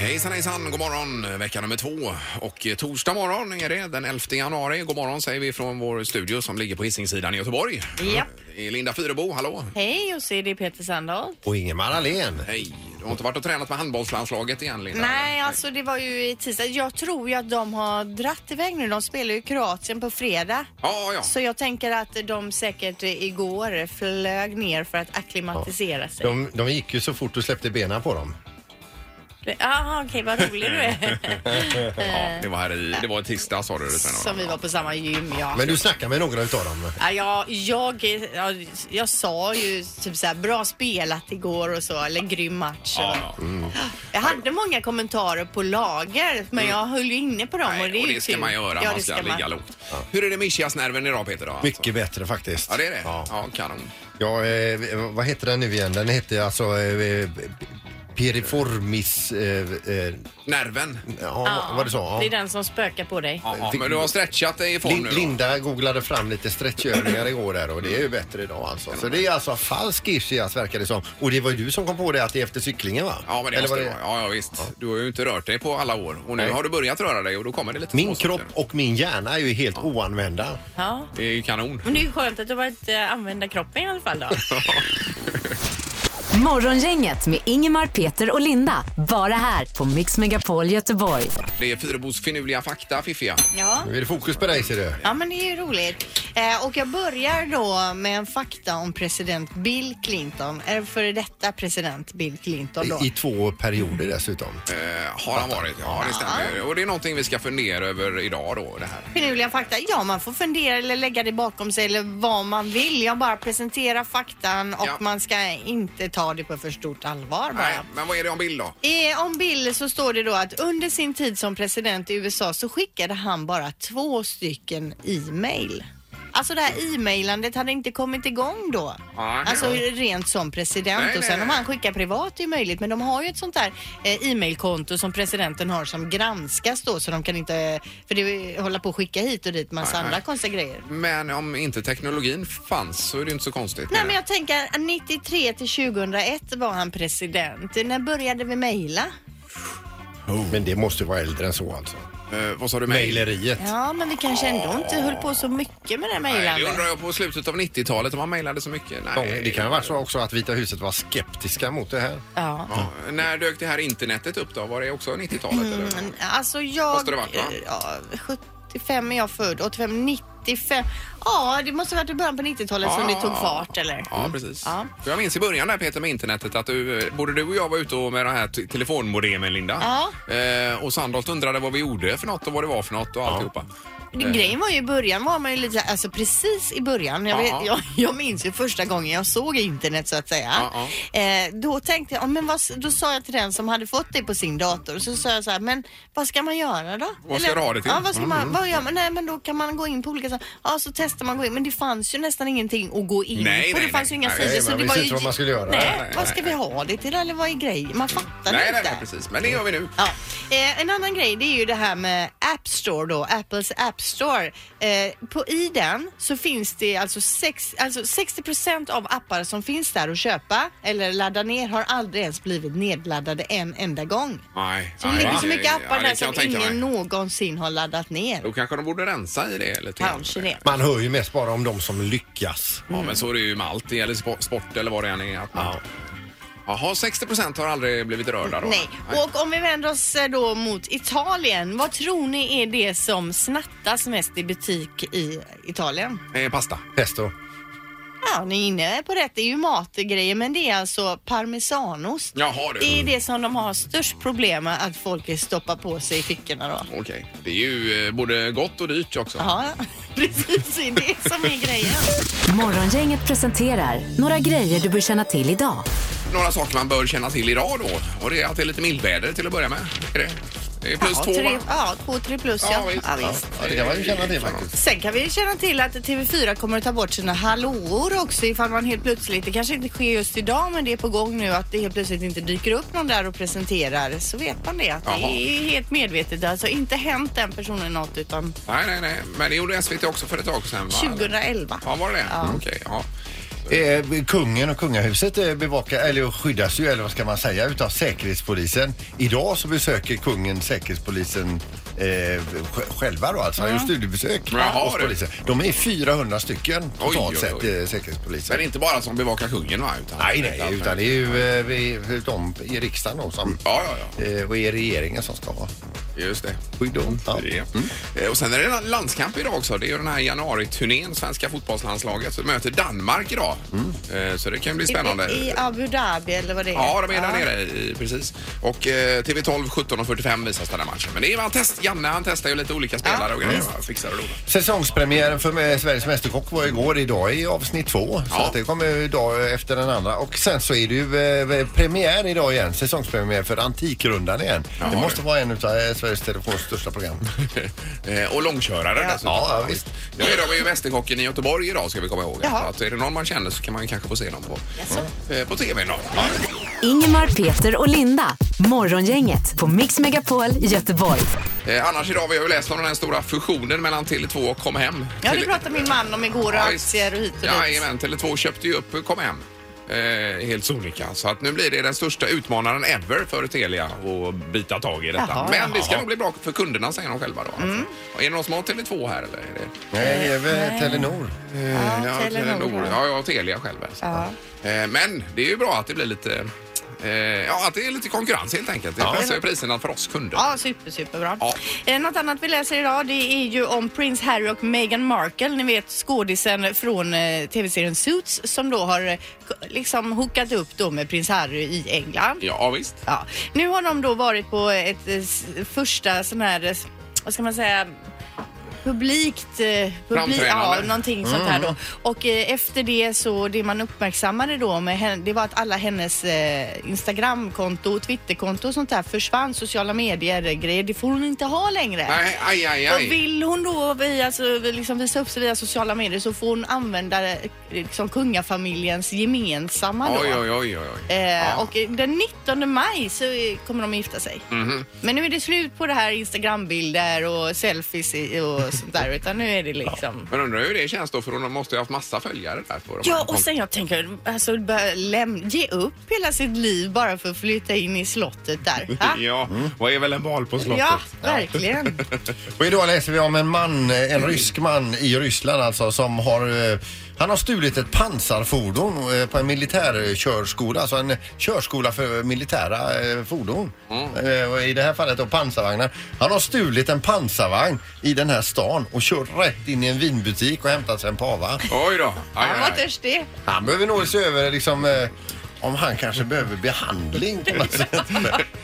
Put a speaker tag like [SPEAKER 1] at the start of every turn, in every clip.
[SPEAKER 1] Hejsan hejsan, god morgon. eh, Vecka nummer två och eh, torsdag morgon är det den 11 januari. God morgon säger vi från vår studio som ligger på Hisingssidan i Göteborg.
[SPEAKER 2] Japp.
[SPEAKER 1] Det är Linda Fyrebo, hallå.
[SPEAKER 2] Hej och så är det Peter Sandahl.
[SPEAKER 3] Och Ingemar Ahlén.
[SPEAKER 1] Hej. Du har inte varit och tränat med handbollslandslaget igen Linda?
[SPEAKER 2] Nej, alltså det var ju i tisdag. Jag tror ju att de har dratt iväg nu. De spelar ju i Kroatien på fredag.
[SPEAKER 1] Ja, ja.
[SPEAKER 2] Så jag tänker att de säkert igår flög ner för att acklimatisera sig.
[SPEAKER 3] De, de gick ju så fort du släppte benen på dem.
[SPEAKER 2] Det- Jaha, okej, vad rolig du är.
[SPEAKER 1] ja det var här i, det var i tisdag sa du. det, Sven-Olof.
[SPEAKER 2] Som vi var på samma gym, ja.
[SPEAKER 3] Men du snackar med några utav dem.
[SPEAKER 2] Ja, jag, jag, jag, jag sa ju typ så här, bra spelat igår och så, eller grym match.
[SPEAKER 1] Ja, ja.
[SPEAKER 2] Jag hade många kommentarer på lager, men jag höll ju inne på dem.
[SPEAKER 1] Mm. Nej,
[SPEAKER 2] och det, är ju
[SPEAKER 1] ska
[SPEAKER 2] kul.
[SPEAKER 1] man göra,
[SPEAKER 2] Ja,
[SPEAKER 1] man
[SPEAKER 2] det
[SPEAKER 1] ska,
[SPEAKER 2] ska man.
[SPEAKER 1] ligga lågt. Hur är det med ischiasnerven idag Peter? Då?
[SPEAKER 3] Mycket bättre faktiskt.
[SPEAKER 1] Ja, det är det? Ja,
[SPEAKER 3] Ja.
[SPEAKER 1] kanon.
[SPEAKER 3] Ja, eh, vad heter den nu igen? Den heter alltså eh, Periformis... Eh, eh,
[SPEAKER 1] Nerven.
[SPEAKER 3] ja,
[SPEAKER 2] Ja,
[SPEAKER 3] vad du sa?
[SPEAKER 2] Det är
[SPEAKER 3] Ja.
[SPEAKER 2] den som spökar på dig.
[SPEAKER 1] Ja, ja, men du har stretchat dig i form
[SPEAKER 3] Lin-
[SPEAKER 1] nu då?
[SPEAKER 3] Linda googlade fram lite stretchövningar igår där och det är ju bättre idag alltså. Så det är alltså falsk ischias verkar det som. Och det var ju du som kom på det att det är efter cyklingen va?
[SPEAKER 1] Ja, men det
[SPEAKER 3] Eller
[SPEAKER 1] måste
[SPEAKER 3] var
[SPEAKER 1] det vara. Ja, ja, visst. Du har ju inte rört dig på alla år och nu
[SPEAKER 3] Nej.
[SPEAKER 1] har du börjat röra dig och då kommer det lite
[SPEAKER 3] Min
[SPEAKER 1] småsaker.
[SPEAKER 3] kropp och min hjärna är ju helt oanvända.
[SPEAKER 2] Ja.
[SPEAKER 1] Det är ju kanon.
[SPEAKER 2] Men det är ju skönt att du har börjat eh, använda kroppen i alla fall då.
[SPEAKER 4] Morgongänget med Ingemar, Peter och Linda. Bara här på Mix Megapol Göteborg.
[SPEAKER 1] Det är Fyrebos finurliga fakta, fiffiga.
[SPEAKER 2] Ja.
[SPEAKER 3] Nu är det fokus på dig ser du.
[SPEAKER 2] Ja men det är ju roligt. Eh, och jag börjar då med en fakta om president Bill Clinton. Eller före detta president Bill Clinton då.
[SPEAKER 3] I, I två perioder dessutom.
[SPEAKER 1] Eh, har han varit? Ja, det stämmer. Och det är någonting vi ska fundera över idag då, det här.
[SPEAKER 2] Finurliga fakta. Ja, man får fundera eller lägga det bakom sig eller vad man vill. Jag bara presenterar faktan och
[SPEAKER 1] Ja.
[SPEAKER 2] man ska inte ta det på för stort allvar bara.
[SPEAKER 1] Nej, men vad är det om Bill då?
[SPEAKER 2] Eh, om Bill så står det då att under sin tid som president i USA så skickade han bara två stycken e-mail. Alltså det här e-mailandet hade inte kommit igång då.
[SPEAKER 1] Nej.
[SPEAKER 2] alltså rent som president
[SPEAKER 1] Nej,
[SPEAKER 2] och sen
[SPEAKER 1] nej,
[SPEAKER 2] om
[SPEAKER 1] nej.
[SPEAKER 2] han skickar privat är ju möjligt men de har ju ett sånt där eh, e-mailkonto som presidenten har som granskas då så de kan inte, eh, för det är- hålla på att skicka hit och dit massa
[SPEAKER 1] Nej, nej.
[SPEAKER 2] andra konstiga grejer.
[SPEAKER 1] Men om inte teknologin fanns så är det inte så konstigt.
[SPEAKER 2] Nej men jag tänker 93 till 2001 var han president. När började vi mejla?
[SPEAKER 3] Oh. Men det måste vara äldre än så alltså.
[SPEAKER 1] Eh, vad sa du? Mail?
[SPEAKER 3] Mejleriet.
[SPEAKER 2] Ja, men vi kanske ändå inte höll på så mycket med det här
[SPEAKER 1] Nej, det
[SPEAKER 2] mejlandet.
[SPEAKER 1] undrar jag på slutet av 90-talet om man mejlade så mycket.
[SPEAKER 3] Ja,
[SPEAKER 1] Nej.
[SPEAKER 3] Det kan ju vara så också att Vita huset var skeptiska mot det här.
[SPEAKER 2] Ja.
[SPEAKER 1] Ja. När dök det här internetet upp då? Var det också 90-talet? eller?
[SPEAKER 2] Mm, Alltså jag... eh,
[SPEAKER 1] Måste det varit, va?
[SPEAKER 2] ja, 75 är jag född, 85, 95. Ja, det måste ha varit i början på 90-talet som
[SPEAKER 1] Ja.
[SPEAKER 2] det tog fart eller?
[SPEAKER 1] Ah. Ja, precis.
[SPEAKER 2] Ja.
[SPEAKER 1] För Jag minns i början där Peter med internetet att du, eh, både du och jag var ute och med den här t- telefonmodemen Linda. Eh, och Sandholt undrade vad vi gjorde för något och vad det var för något och alltihopa. Eh.
[SPEAKER 2] Det, grejen var ju i början var man ju lite så här, alltså precis i början. Jag,
[SPEAKER 1] Ja.
[SPEAKER 2] vet, jag, jag minns ju första gången jag såg internet så att säga.
[SPEAKER 1] Ja,
[SPEAKER 2] Eh, då tänkte jag, ja, men vad, då sa jag till den som hade fått det på sin dator, så sa jag så här, men vad ska man göra då?
[SPEAKER 1] Vad ska du ha det till? Mm.
[SPEAKER 2] Ja, vad ska man, vad gör man? Nej men då kan man gå in på olika saker. Ja så testar man gå in, men det fanns ju nästan ingenting att gå in
[SPEAKER 1] Nej,
[SPEAKER 2] på.
[SPEAKER 1] nej,
[SPEAKER 2] det fanns
[SPEAKER 1] nej.
[SPEAKER 2] ju inga
[SPEAKER 1] Nej,
[SPEAKER 2] sidor.
[SPEAKER 3] Nej,
[SPEAKER 2] så
[SPEAKER 3] man
[SPEAKER 2] det
[SPEAKER 3] visste
[SPEAKER 2] var ju,
[SPEAKER 3] inte vad man skulle göra.
[SPEAKER 2] Nej,
[SPEAKER 1] Nej,
[SPEAKER 2] vad
[SPEAKER 1] nej,
[SPEAKER 2] ska vi ha det till eller vad är grejen? Man fattar
[SPEAKER 1] Nej, nej,
[SPEAKER 2] inte.
[SPEAKER 1] nej, precis. Men det gör vi nu.
[SPEAKER 2] Ja. Eh, en annan grej det är ju det här med App Store då, Apples App Store. Eh, på, I den så finns det alltså, sex, alltså 60 av appar som finns där att köpa eller ladda ner har aldrig ens blivit nedladdade en enda gång.
[SPEAKER 1] Nej,
[SPEAKER 2] Så det
[SPEAKER 1] nej,
[SPEAKER 2] ligger så
[SPEAKER 1] nej,
[SPEAKER 2] mycket
[SPEAKER 1] ja,
[SPEAKER 2] appar
[SPEAKER 1] det
[SPEAKER 2] där
[SPEAKER 1] kan
[SPEAKER 2] som
[SPEAKER 1] jag tänka mig. Oh,
[SPEAKER 2] ingen någonsin har laddat ner.
[SPEAKER 1] Då kanske de borde rensa i det lite grann.
[SPEAKER 2] Kanske Mm. det.
[SPEAKER 3] Man hör ju mest bara om de som lyckas.
[SPEAKER 1] Ja, men så är det ju med allt. Det gäller spo- sport eller vad det än är. Att man... Jaha, 60 procent har aldrig blivit rörda då?
[SPEAKER 2] Nej. Och om vi vänder oss eh, då mot Italien, vad tror ni är det som snattas mest i butik i Italien?
[SPEAKER 1] Eh, pasta.
[SPEAKER 3] Pesto.
[SPEAKER 2] Ja, ni är inne på rätt. Det är ju matgrejer, men det är alltså parmesanost.
[SPEAKER 1] Jaha, du.
[SPEAKER 2] Det är det som de har störst problem med, att folk stoppar på sig i fickorna då.
[SPEAKER 1] Okej. Det är ju eh, både gott och dyrt också.
[SPEAKER 2] Ja, precis. Det är det som är grejen.
[SPEAKER 4] Morgongänget presenterar några grejer du bör känna till idag.
[SPEAKER 1] Några saker man bör känna till idag då. Och det är att det är lite mildväder till att börja med. Är det? det är plus
[SPEAKER 2] ja,
[SPEAKER 1] två,
[SPEAKER 2] tre,
[SPEAKER 1] va?
[SPEAKER 2] ja, två, tre plus ja.
[SPEAKER 1] visst.
[SPEAKER 2] Ja, visst.
[SPEAKER 3] Ja, det kan man ju känna till faktiskt.
[SPEAKER 2] Sen kan vi ju känna till att TV4 kommer att ta bort sina hallåor också ifall man helt plötsligt, det kanske inte sker just idag men det är på gång nu att det helt plötsligt inte dyker upp någon där och presenterar så vet man det. Att det
[SPEAKER 1] Jaha.
[SPEAKER 2] är helt medvetet, alltså inte hänt den personen något utan
[SPEAKER 1] Nej, nej, nej. Men det gjorde SVT också för ett tag sedan, va?
[SPEAKER 2] 2011.
[SPEAKER 1] Ja, var det det?
[SPEAKER 2] Ja.
[SPEAKER 1] Okej, ja.
[SPEAKER 3] Eh, kungen och kungahuset eh, bevakar, eller skyddas ju, eller vad ska man säga, utav Säkerhetspolisen. Idag så besöker kungen Säkerhetspolisen eh, sj- själva då alltså. Han gör studiebesök
[SPEAKER 1] Jaha,
[SPEAKER 3] hos
[SPEAKER 1] du.
[SPEAKER 3] polisen. De är 400 stycken
[SPEAKER 1] Oj,
[SPEAKER 3] totalt
[SPEAKER 1] oj,
[SPEAKER 3] sett,
[SPEAKER 1] oj.
[SPEAKER 3] eh, Säkerhetspolisen.
[SPEAKER 1] Men det är inte bara som bevakar kungen va? Utan
[SPEAKER 3] Nej, nej, utan det är ju eh, vi- de i riksdagen då som,
[SPEAKER 1] Ja, ja, ja.
[SPEAKER 3] eh, och i regeringen som ska ha
[SPEAKER 1] Just det.
[SPEAKER 3] skydd. då. Ja. Mm.
[SPEAKER 1] Det är det. Eh, Och sen är det landskamp idag också. Det är ju den här januariturnén, svenska fotbollslandslaget, som möter Danmark idag.
[SPEAKER 3] Mm.
[SPEAKER 1] Eh, Så det kan bli spännande.
[SPEAKER 2] I, I Abu Dhabi eller vad det är.
[SPEAKER 1] Ja, de är där nere, i- precis. Och eh, TV12 17.45 visas den här matchen. Men det är man test, Janne han testar ju lite olika spelare och grejer. va? Fixar och donar.
[SPEAKER 3] Säsongspremiären för eh, Sveriges Mästerkock var igår. Idag är avsnitt två. Så
[SPEAKER 1] Ja.
[SPEAKER 3] att det kommer ju idag eh, efter den andra. Och sen så är det ju eh, premiär idag igen. Säsongspremiär för Antikrundan igen. det
[SPEAKER 1] du.
[SPEAKER 3] måste vara en av eh, Sveriges Telefons största program.
[SPEAKER 1] Eh, och långkörare dessutom.
[SPEAKER 3] Ja, ja, visst.
[SPEAKER 1] Nu är de ju Mästerkocken i Göteborg idag ska vi komma ihåg.
[SPEAKER 2] Jaha.
[SPEAKER 1] Att är det någon man känner så kan man ju kanske få se dem på, eh, på TV idag.
[SPEAKER 4] Ingemar, Peter och Linda. Morgongänget på Mix Megapol Göteborg.
[SPEAKER 1] Eh, annars idag, vi har ju läst om den här stora fusionen mellan Tele2 och Kom Hem.
[SPEAKER 2] Ja, det
[SPEAKER 1] Tele-
[SPEAKER 2] pratade min man om igår och
[SPEAKER 1] Ja,
[SPEAKER 2] aktier och hit och dit.
[SPEAKER 1] Jajamän, Tele2 köpte ju upp Kom Hem. Eh, helt sonika. Så att nu blir det den största utmanaren ever för Telia att bita tag i detta.
[SPEAKER 2] Jaha, Mm.
[SPEAKER 1] Men det ska nog bli bra för kunderna säger de själva då. Alltså, Är det någon som har Tele2 här eller? Är det...
[SPEAKER 3] Nej, det är väl Telenor.
[SPEAKER 1] Eh, Ja,
[SPEAKER 2] Telenor,
[SPEAKER 1] Telenor.
[SPEAKER 2] ja.
[SPEAKER 1] Ja, jag har Telia själv. Så. Eh, Men det är ju bra att det blir lite eh, Ja, att det är lite konkurrens helt enkelt. Det pressar ju priserna för oss kunder.
[SPEAKER 2] Ja, super, superbra.
[SPEAKER 1] Ja.
[SPEAKER 2] Eh, något annat vi läser idag det är ju om prins Harry och Meghan Markle, ni vet skådisen från eh, tv-serien Suits som då har eh, k- liksom hookat upp då med prins Harry i England.
[SPEAKER 1] Ja, visst.
[SPEAKER 2] Ja. Nu har de då varit på ett eh, s- första sån här, eh, s- vad ska man säga, publikt... eh, Publik, ja,
[SPEAKER 1] Framträdande. Mm.
[SPEAKER 2] någonting sånt här då. Och eh, efter det så, det man uppmärksammade då med henne, det var att alla hennes eh, Instagramkonto och Twitterkonto och sånt där försvann, sociala medier eh, grejer, det får hon inte ha längre.
[SPEAKER 1] Nej, aj, aj,
[SPEAKER 2] Och
[SPEAKER 1] aj.
[SPEAKER 2] vill hon då via, alltså, liksom visa upp sig via sociala medier så får hon använda eh, liksom, kungafamiljens gemensamma då.
[SPEAKER 1] Oj, oj, oj, oj. oj.
[SPEAKER 2] Eh,
[SPEAKER 1] Ja.
[SPEAKER 2] Och eh, den 19 maj så eh, kommer de att gifta sig. Men nu är det slut på det här Instagrambilder och selfies i- och sånt där. Utan nu är det liksom...
[SPEAKER 1] Men undrar hur det känns då, för hon måste ju ha haft massa följare där. På de här
[SPEAKER 2] Ja, och
[SPEAKER 1] kont-
[SPEAKER 2] sen jag tänker, alltså börja läm- ge upp hela sitt liv bara för att flytta in i slottet där. Ha?
[SPEAKER 1] Ja, vad är väl en bal på slottet?
[SPEAKER 2] Ja, verkligen.
[SPEAKER 3] Och idag läser vi om en man, eh, en rysk man i Ryssland alltså som har eh, han har stulit ett pansarfordon eh, på en militärkörskola, alltså en körskola för militära eh, fordon. Eh, och I det här fallet då pansarvagnar. Han har stulit en pansarvagn i den här stan och kört rätt in i en vinbutik och hämtat sig en pava.
[SPEAKER 1] Oj då. Aj,
[SPEAKER 2] Han var
[SPEAKER 1] aj, aj.
[SPEAKER 2] törstig.
[SPEAKER 3] Han behöver nog se över liksom eh, om han kanske behöver behandling på något sätt.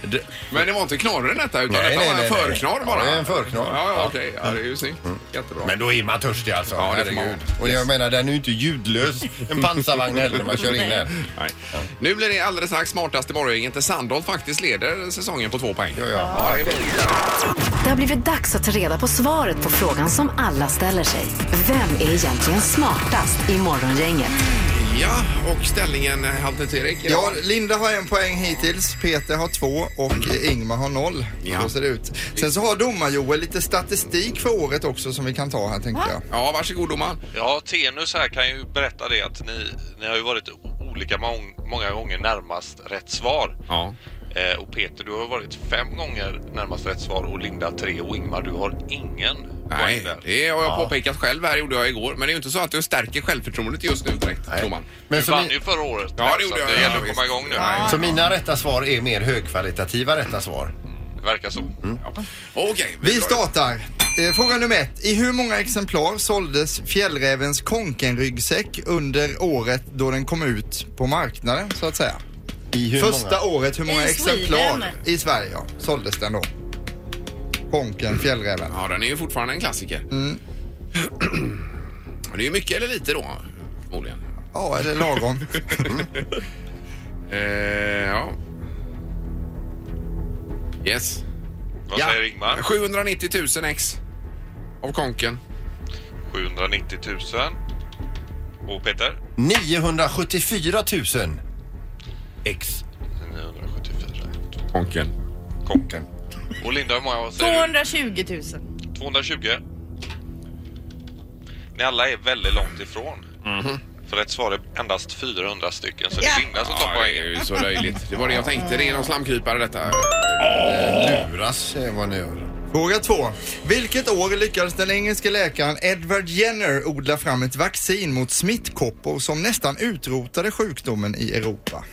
[SPEAKER 3] Det-
[SPEAKER 1] Men det var inte knorren detta, utan
[SPEAKER 3] Nej,
[SPEAKER 1] detta
[SPEAKER 3] nej,
[SPEAKER 1] var
[SPEAKER 3] nej,
[SPEAKER 1] en
[SPEAKER 3] nej.
[SPEAKER 1] förknorr bara?
[SPEAKER 3] Ja, det är en förknorr.
[SPEAKER 1] Ja, ja,
[SPEAKER 3] Ja. Mm.
[SPEAKER 1] okej. Ja, det är ju snyggt. Jättebra.
[SPEAKER 3] Men då är man törstig alltså.
[SPEAKER 1] Ja, det får man
[SPEAKER 3] Herregud.
[SPEAKER 1] vara.
[SPEAKER 3] Och jag menar den är ju inte ljudlös. En pansarvagn heller när man kör in den.
[SPEAKER 1] Nej. Nu blir det alldeles strax smartast i morgongänget där Sandholt faktiskt leder säsongen på två poäng.
[SPEAKER 3] Ja, ja.
[SPEAKER 1] det är bra.
[SPEAKER 4] Det har blivit dags att ta reda på svaret på frågan som alla ställer sig. Vem är egentligen smartast i Morgongänget?
[SPEAKER 1] Ja, och ställningen eh, Halvtids Erik? idag?
[SPEAKER 5] Ja, Linda har en poäng hittills, Peter har två och Ingmar har noll.
[SPEAKER 1] Ja.
[SPEAKER 5] Så ser det ut. Sen så har domar-Joel lite statistik för året också som vi kan ta här tänkte jag.
[SPEAKER 1] Ja, varsågod domaren.
[SPEAKER 6] Ja, Tenus här kan ju berätta det att ni, ni har ju varit o- olika mång, många gånger närmast rätt svar.
[SPEAKER 1] Ja.
[SPEAKER 6] Eh, och Peter, du har varit fem gånger närmast rätt svar och Linda tre och Ingmar, du har ingen poäng
[SPEAKER 1] Nej,
[SPEAKER 6] där.
[SPEAKER 1] det har jag påpekat själv här, gjorde jag igår. Men det är ju inte så att det stärker självförtroendet just nu direkt, domaren.
[SPEAKER 3] Men
[SPEAKER 6] Du
[SPEAKER 3] så,
[SPEAKER 6] vann
[SPEAKER 3] mi-
[SPEAKER 6] ju förra året.
[SPEAKER 1] Ja, det
[SPEAKER 6] så
[SPEAKER 1] gjorde
[SPEAKER 6] att
[SPEAKER 1] jag.
[SPEAKER 6] Det
[SPEAKER 1] Ja,
[SPEAKER 6] gäller att
[SPEAKER 1] visst.
[SPEAKER 6] komma igång nu.
[SPEAKER 1] Ja.
[SPEAKER 3] så mina rätta svar är mer högkvalitativa rätta svar.
[SPEAKER 6] Det verkar så.
[SPEAKER 1] Mm. Okej.
[SPEAKER 5] Vi startar. Eh, Fråga nummer ett. I hur många exemplar såldes fjällrävens Konken-ryggsäck under året då den kom ut på marknaden så att säga?
[SPEAKER 3] I hur
[SPEAKER 5] Första
[SPEAKER 3] många?
[SPEAKER 5] året, hur många
[SPEAKER 2] I
[SPEAKER 5] exemplar
[SPEAKER 2] Sweden.
[SPEAKER 5] i Sverige ja, såldes den då? Konken, fjällräven.
[SPEAKER 1] Ja, den är ju fortfarande en klassiker.
[SPEAKER 6] Mm.
[SPEAKER 1] det är ju mycket eller lite då, förmodligen.
[SPEAKER 5] Ja, eller lagom.
[SPEAKER 1] Eh, ja. Yes.
[SPEAKER 6] Vad
[SPEAKER 1] Ja.
[SPEAKER 6] säger Ingmar?
[SPEAKER 1] 790 000 ex av konken.
[SPEAKER 6] 790 000. Och Peter?
[SPEAKER 3] 974 000 ex.
[SPEAKER 6] 974.
[SPEAKER 1] Konken.
[SPEAKER 6] Kocken. Och Linda, hur många säger du?
[SPEAKER 2] 220 000.
[SPEAKER 1] Mhm.
[SPEAKER 6] 220. Ni alla är väldigt långt ifrån. För rätt svar är endast 400 stycken, så det
[SPEAKER 2] Ja.
[SPEAKER 6] är Linda som tar
[SPEAKER 1] Ja, det
[SPEAKER 6] poängen.
[SPEAKER 1] är ju så löjligt. Det var det jag tänkte. Det är någon slamkrypare detta.
[SPEAKER 3] Luras eh, vad ni gör.
[SPEAKER 5] Fråga två. Vilket år lyckades den engelske läkaren Edward Jenner odla fram ett vaccin mot smittkoppor som nästan utrotade sjukdomen i Europa?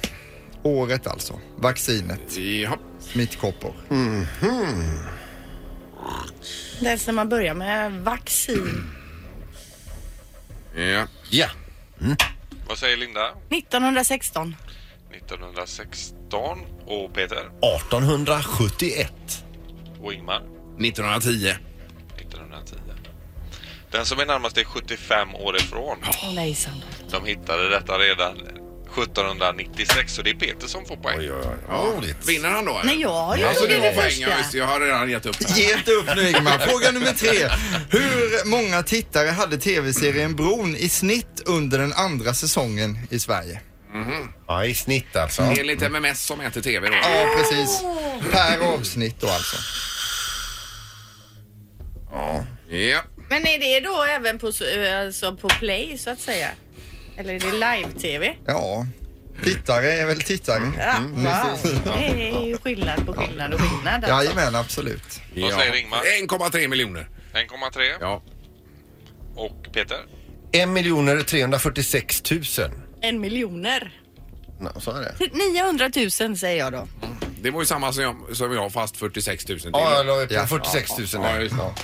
[SPEAKER 5] Året alltså. Vaccinet.
[SPEAKER 1] Jaha.
[SPEAKER 5] Smittkoppor.
[SPEAKER 2] Det är när man börjar med vaccin.
[SPEAKER 1] Ja.
[SPEAKER 3] Ja.
[SPEAKER 6] Vad säger Linda?
[SPEAKER 2] 1916.
[SPEAKER 6] 1916 och Peter
[SPEAKER 3] 1871.
[SPEAKER 6] och Ingmar
[SPEAKER 1] 1910.
[SPEAKER 6] 1910. Den som är närmast är 75 år ifrån.
[SPEAKER 2] Åh nej, Sandra.
[SPEAKER 6] De hittade detta redan 1796 så det är Peter som får poäng.
[SPEAKER 3] Oj, oj, oj. Roligt.
[SPEAKER 1] Vinner han då? eller?
[SPEAKER 2] Nej, jag har ju
[SPEAKER 1] Alltså, det
[SPEAKER 2] det
[SPEAKER 1] var poäng.
[SPEAKER 2] första.
[SPEAKER 1] Ja, visst, jag har redan gett upp. här.
[SPEAKER 5] Ge inte upp nu Ingmar. Fråga nummer tre. Hur många tittare hade tv-serien Bron i snitt under den andra säsongen i Sverige?
[SPEAKER 3] Ja, i snitt alltså.
[SPEAKER 1] Enligt MMS som äter TV då.
[SPEAKER 5] Ja, precis. Per avsnitt då alltså.
[SPEAKER 1] Ja.
[SPEAKER 7] Men är det då även på, s- eh, alltså på play så att säga? Eller är det live-tv?
[SPEAKER 5] Ja. mm, Tittare är väl tittare?
[SPEAKER 2] Mm.
[SPEAKER 7] Ja, wow. Det är ju skillnad på skillnad och skillnad. alltså.
[SPEAKER 5] Jajamän, absolut.
[SPEAKER 1] Vad
[SPEAKER 6] säger Ingmar?
[SPEAKER 1] 1,3 miljoner.
[SPEAKER 6] 1,3
[SPEAKER 1] Ja.
[SPEAKER 6] och Peter
[SPEAKER 3] 1 346 000.
[SPEAKER 7] En miljoner.
[SPEAKER 3] Nej, så är det.
[SPEAKER 2] 900 000 säger jag då.
[SPEAKER 1] Det var ju samma som jag, som jag fast 46 000 till.
[SPEAKER 3] Ja, jag la ju på
[SPEAKER 5] Ja.
[SPEAKER 3] 46 000
[SPEAKER 1] Ja,
[SPEAKER 3] där.
[SPEAKER 1] just det.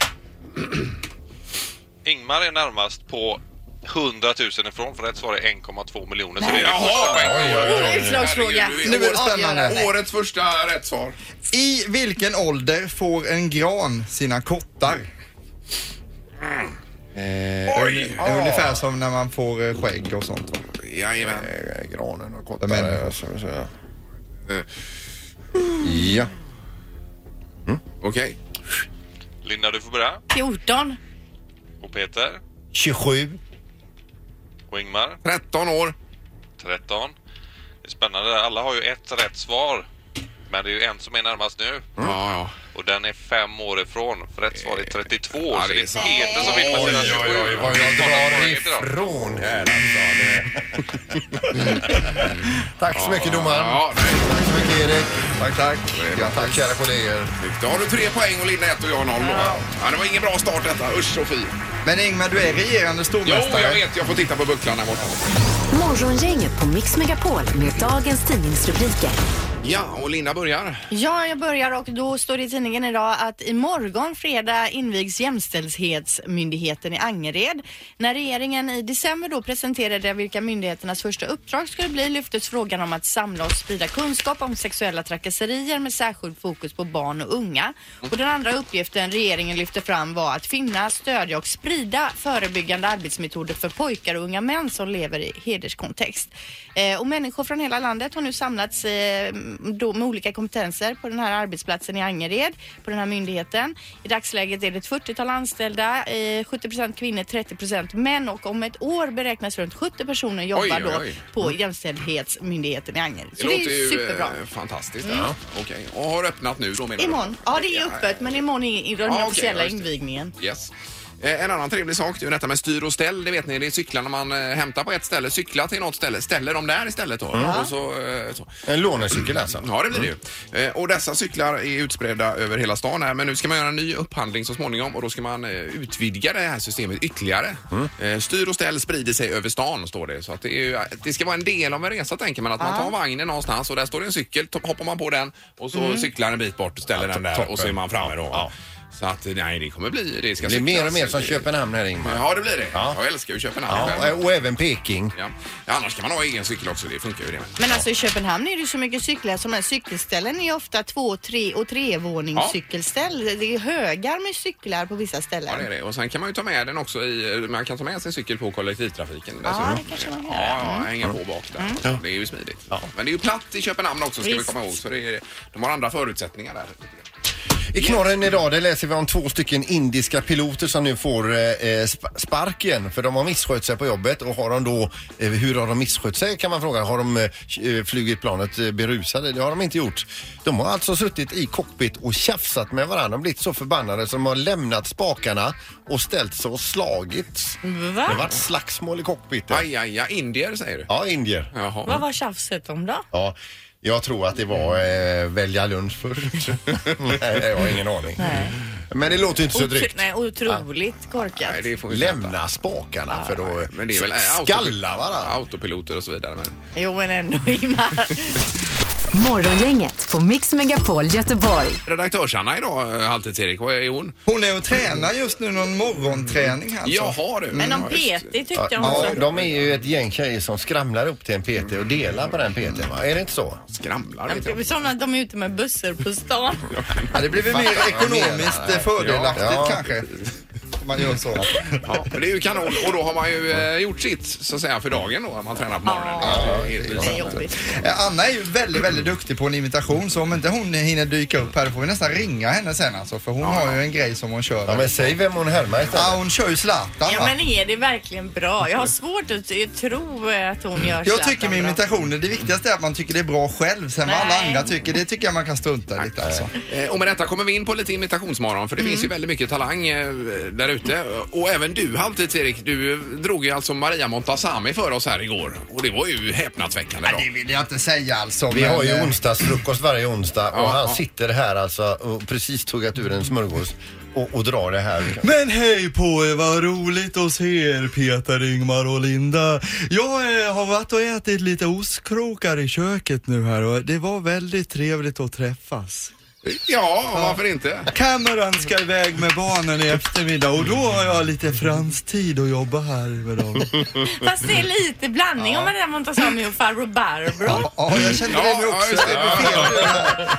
[SPEAKER 6] Ingmar är närmast på 100 000 ifrån för rätt svar är 1,2 miljoner. Så det är den
[SPEAKER 1] Jaha!
[SPEAKER 6] första poängen.
[SPEAKER 3] Oj, oj, oj.
[SPEAKER 7] Utslagsfråga.
[SPEAKER 1] Herregud,
[SPEAKER 5] Nu är det
[SPEAKER 1] årets-
[SPEAKER 5] spännande.
[SPEAKER 1] Årets första rätt svar.
[SPEAKER 5] I vilken ålder får en gran sina kottar?
[SPEAKER 1] Oj!
[SPEAKER 5] Det är ungefär som när man får eh, skägg och sånt. va?
[SPEAKER 1] Jajamän. eh,
[SPEAKER 3] Eh, Granen och
[SPEAKER 5] De människor.
[SPEAKER 3] kottar. så- så- Ja.
[SPEAKER 1] Mm, Okej.
[SPEAKER 6] Linda du får börja
[SPEAKER 7] 14.
[SPEAKER 6] och Peter
[SPEAKER 3] 27.
[SPEAKER 6] och Ingmar
[SPEAKER 1] 13 år. Mm.
[SPEAKER 6] 13. Det är spännande där. Alla har ju ett rätt svar. Men det är ju en som är närmast nu
[SPEAKER 1] Ja, ja.
[SPEAKER 6] och den är fem år ifrån. För rätt svar är 32.
[SPEAKER 1] Ja,
[SPEAKER 6] så
[SPEAKER 1] det
[SPEAKER 6] det
[SPEAKER 1] är
[SPEAKER 6] är
[SPEAKER 1] sant.
[SPEAKER 6] Peter som vinner med sina 27.
[SPEAKER 3] Vad jag drar
[SPEAKER 6] poäng idag.
[SPEAKER 3] ifrån här alltså. Det... Tack så mycket domaren.
[SPEAKER 1] Ja, nej.
[SPEAKER 3] Tack så mycket Erik.
[SPEAKER 5] Tack, tack.
[SPEAKER 3] Ja, tack kära kollegor.
[SPEAKER 1] Snyggt. Då har du tre poäng och Linda ett och jag noll. då, va? Ja, det var ingen bra start detta. Usch och fy.
[SPEAKER 5] Men Ingmar, du är regerande
[SPEAKER 1] Jo,
[SPEAKER 5] stormästare.
[SPEAKER 1] jag vet. Jag får titta på bucklan där borta.
[SPEAKER 4] Morgongänget på Mix Megapol med dagens tidningsrubriker.
[SPEAKER 1] Ja, och Linda börjar.
[SPEAKER 2] Ja, jag börjar och då står det i tidningen idag att imorgon fredag invigs Jämställdhetsmyndigheten i Angered. När regeringen i december då presenterade vilka myndigheternas första uppdrag skulle bli lyftes frågan om att samla och sprida kunskap om sexuella trakasserier med särskilt fokus på barn och unga. Och den andra uppgiften regeringen lyfte fram var att finna, stödja och sprida förebyggande arbetsmetoder för pojkar och unga män som lever i hederskontext. Eh, och människor från hela landet har nu samlats eh, då med olika kompetenser på den här arbetsplatsen i Angered, på den här myndigheten. I dagsläget är det ett 40-tal anställda, eh, 70 kvinnor, 30 män och om ett år beräknas runt 70 personer jobba
[SPEAKER 1] Oj,
[SPEAKER 2] då
[SPEAKER 1] oj.
[SPEAKER 2] på Jämställdhetsmyndigheten i Angered. Så det, är ju superbra.
[SPEAKER 1] eh, fantastiskt. Ja. Okej. Och har öppnat nu då menar du?
[SPEAKER 2] Imorgon. Ja, det är öppet, men imorgon är den
[SPEAKER 1] Ja, Ah, okej,
[SPEAKER 2] officiella
[SPEAKER 1] ja, just det.
[SPEAKER 2] invigningen.
[SPEAKER 1] Yes. Eh, En annan trevlig sak det är ju detta med styr och ställ. Det vet ni, det är cyklarna man eh, hämtar på ett ställe, cyklar till något ställe, ställer dem där istället då. Och så, eh, så.
[SPEAKER 3] En lånecykel alltså.
[SPEAKER 1] Ja, det blir det
[SPEAKER 3] Mm.
[SPEAKER 1] ju. Eh, Och dessa cyklar är utspridda över hela stan här, men nu ska man göra en ny upphandling så småningom och då ska man eh, utvidga det här systemet ytterligare.
[SPEAKER 3] Mm.
[SPEAKER 1] Eh, Styr och ställ sprider sig över stan, står det. Så att det, är ju, eh, det ska vara en del av en resa, tänker man. Att man tar vagnen någonstans och där står det en cykel, to- hoppar man på den och så cyklar en bit bort och ställer den där
[SPEAKER 3] Mm. toppen.
[SPEAKER 1] och så är man framme då.
[SPEAKER 3] Ja.
[SPEAKER 1] Så att eh, nej, det kommer bli... Det ska
[SPEAKER 3] Det blir mer och
[SPEAKER 1] cyklas.
[SPEAKER 3] mer som Köpenhamn här Ingmar.
[SPEAKER 1] Ja, det blir det.
[SPEAKER 3] alltså Ja.
[SPEAKER 1] Jag älskar ju Köpenhamn.
[SPEAKER 3] Ja,
[SPEAKER 1] själv.
[SPEAKER 3] och även Peking.
[SPEAKER 1] Ja. Ja, annars kan man ha egen cykel också, det funkar ju det med.
[SPEAKER 2] Men alltså i Köpenhamn är det ju så mycket cyklar som är cykelställen är ofta två, tre och trevåningscykelställ. Det är högar med cyklar på vissa ställen.
[SPEAKER 1] Ja, det är det. Och sen kan man ju ta med den också i, man kan ta med sin cykel på kollektivtrafiken. dessutom.
[SPEAKER 2] det kanske man kan göra.
[SPEAKER 1] Alltså,
[SPEAKER 2] Mm.
[SPEAKER 1] Ja, ja, hänga på bak där. Det är ju smidigt. Men det är ju platt i Köpenhamn också ska vi komma ihåg. Så det är, de har andra förutsättningar där.
[SPEAKER 3] I knorren idag det läser vi om två stycken indiska piloter som nu får eh, eh, sp- sparken för de har misskött sig på jobbet och har de då, eh, hur har de misskött sig kan man fråga. Har de eh, flugit planet eh, berusade? Det har de inte gjort. De har alltså suttit i cockpit och tjafsat med varandra och blivit så förbannade som de har lämnat spakarna och ställt sig och slagits. Det har varit slagsmål i cockpiten.
[SPEAKER 1] Aj, aj, aj. Indier säger du?
[SPEAKER 3] Ja, indier.
[SPEAKER 1] Jaha.
[SPEAKER 2] Vad var tjafset om då?
[SPEAKER 3] Ja, jag tror att det var eh, välja lunch först. Nej, jag har ingen aning. Men det låter ju inte så
[SPEAKER 2] Otro-
[SPEAKER 3] drygt.
[SPEAKER 2] nej, otroligt korkat.
[SPEAKER 1] Nej, det får vi inte äta.
[SPEAKER 3] Lämna spakarna för då
[SPEAKER 1] Men det är väl äh, autopil-
[SPEAKER 3] skalla varandra.
[SPEAKER 1] Autopiloter och så vidare. Men...
[SPEAKER 2] Jo, men ändå Ingmar.
[SPEAKER 1] Mm,
[SPEAKER 4] Morgongänget på Mix Megapol Göteborg.
[SPEAKER 1] Redaktörs-Anna idag, eh, Halvtids-Erik, vad är hon?
[SPEAKER 5] Hon är och tränar just nu någon morgonträning här. Alltså.
[SPEAKER 1] Jaha du.
[SPEAKER 2] Men
[SPEAKER 1] Ja,
[SPEAKER 2] om
[SPEAKER 1] just det.
[SPEAKER 2] Peti tyckte jag
[SPEAKER 3] Ja,
[SPEAKER 2] också.
[SPEAKER 3] de är ju ett gäng tjejer som skramlar upp till en PT och delar på den PT, va? Är det inte så?
[SPEAKER 1] Skramlar vet
[SPEAKER 2] Det är
[SPEAKER 1] jag.
[SPEAKER 2] Som att de är ute med bussar på stan.
[SPEAKER 5] Ja, det blir väl mer ekonomiskt eh, fördelaktigt
[SPEAKER 3] Ja.
[SPEAKER 5] kanske. Om man gör så.
[SPEAKER 1] Ja, men det är ju kanon och då har man ju eh, gjort sitt så att säga för dagen då, när man tränar på morgonen. Ja, det är helt
[SPEAKER 2] Det är
[SPEAKER 1] lysande.
[SPEAKER 2] jobbigt.
[SPEAKER 5] Eh, Anna är ju väldigt, väldigt duktig på en imitation så om inte hon hinner dyka upp här då får vi nästan ringa henne sen alltså för hon har ju en grej som hon kör.
[SPEAKER 3] Ja, men säg vem hon härmar
[SPEAKER 5] Ja,
[SPEAKER 3] istället.
[SPEAKER 5] hon kör ju Zlatan
[SPEAKER 2] Ja,
[SPEAKER 5] va?
[SPEAKER 2] men är det verkligen bra? Jag har svårt att t- tro eh, att hon gör
[SPEAKER 5] Jag
[SPEAKER 2] Zlatan
[SPEAKER 5] tycker med
[SPEAKER 2] bra.
[SPEAKER 5] imitationer, det viktigaste är att man tycker det är bra själv. Sen vad alla
[SPEAKER 2] Nej.
[SPEAKER 5] andra tycker, det tycker jag man kan strunta i lite alltså.
[SPEAKER 1] Eh, Och med detta kommer vi in på lite imitationsmorgon för det finns ju väldigt mycket talang eh, där ute. Och även du Halvtids-Erik, du eh, drog ju alltså Maria Montazami för oss här igår. Och det var ju häpnadsväckande.
[SPEAKER 5] Nej, det
[SPEAKER 1] Då.
[SPEAKER 5] vill jag inte säga alltså.
[SPEAKER 3] Vi har ju
[SPEAKER 5] eh,
[SPEAKER 3] onsdagsfrukost varje onsdag
[SPEAKER 1] Ja,
[SPEAKER 3] och han
[SPEAKER 1] ja.
[SPEAKER 3] sitter här alltså och precis tuggat ur en smörgås och, och drar det här.
[SPEAKER 5] Men hej på er, vad roligt att se er Peter, Ingmar och Linda. Jag eh, har varit och ätit lite ostkrokar i köket nu här och det var väldigt trevligt att träffas.
[SPEAKER 1] Ja, varför inte?
[SPEAKER 5] Cameron ska iväg med barnen i eftermiddag och då har jag lite franstid att jobba här med dem.
[SPEAKER 2] Fast det är lite blandning om man där Montazami och farbror Barbro.
[SPEAKER 5] Ja, jag kände
[SPEAKER 1] Ja, ja, just det.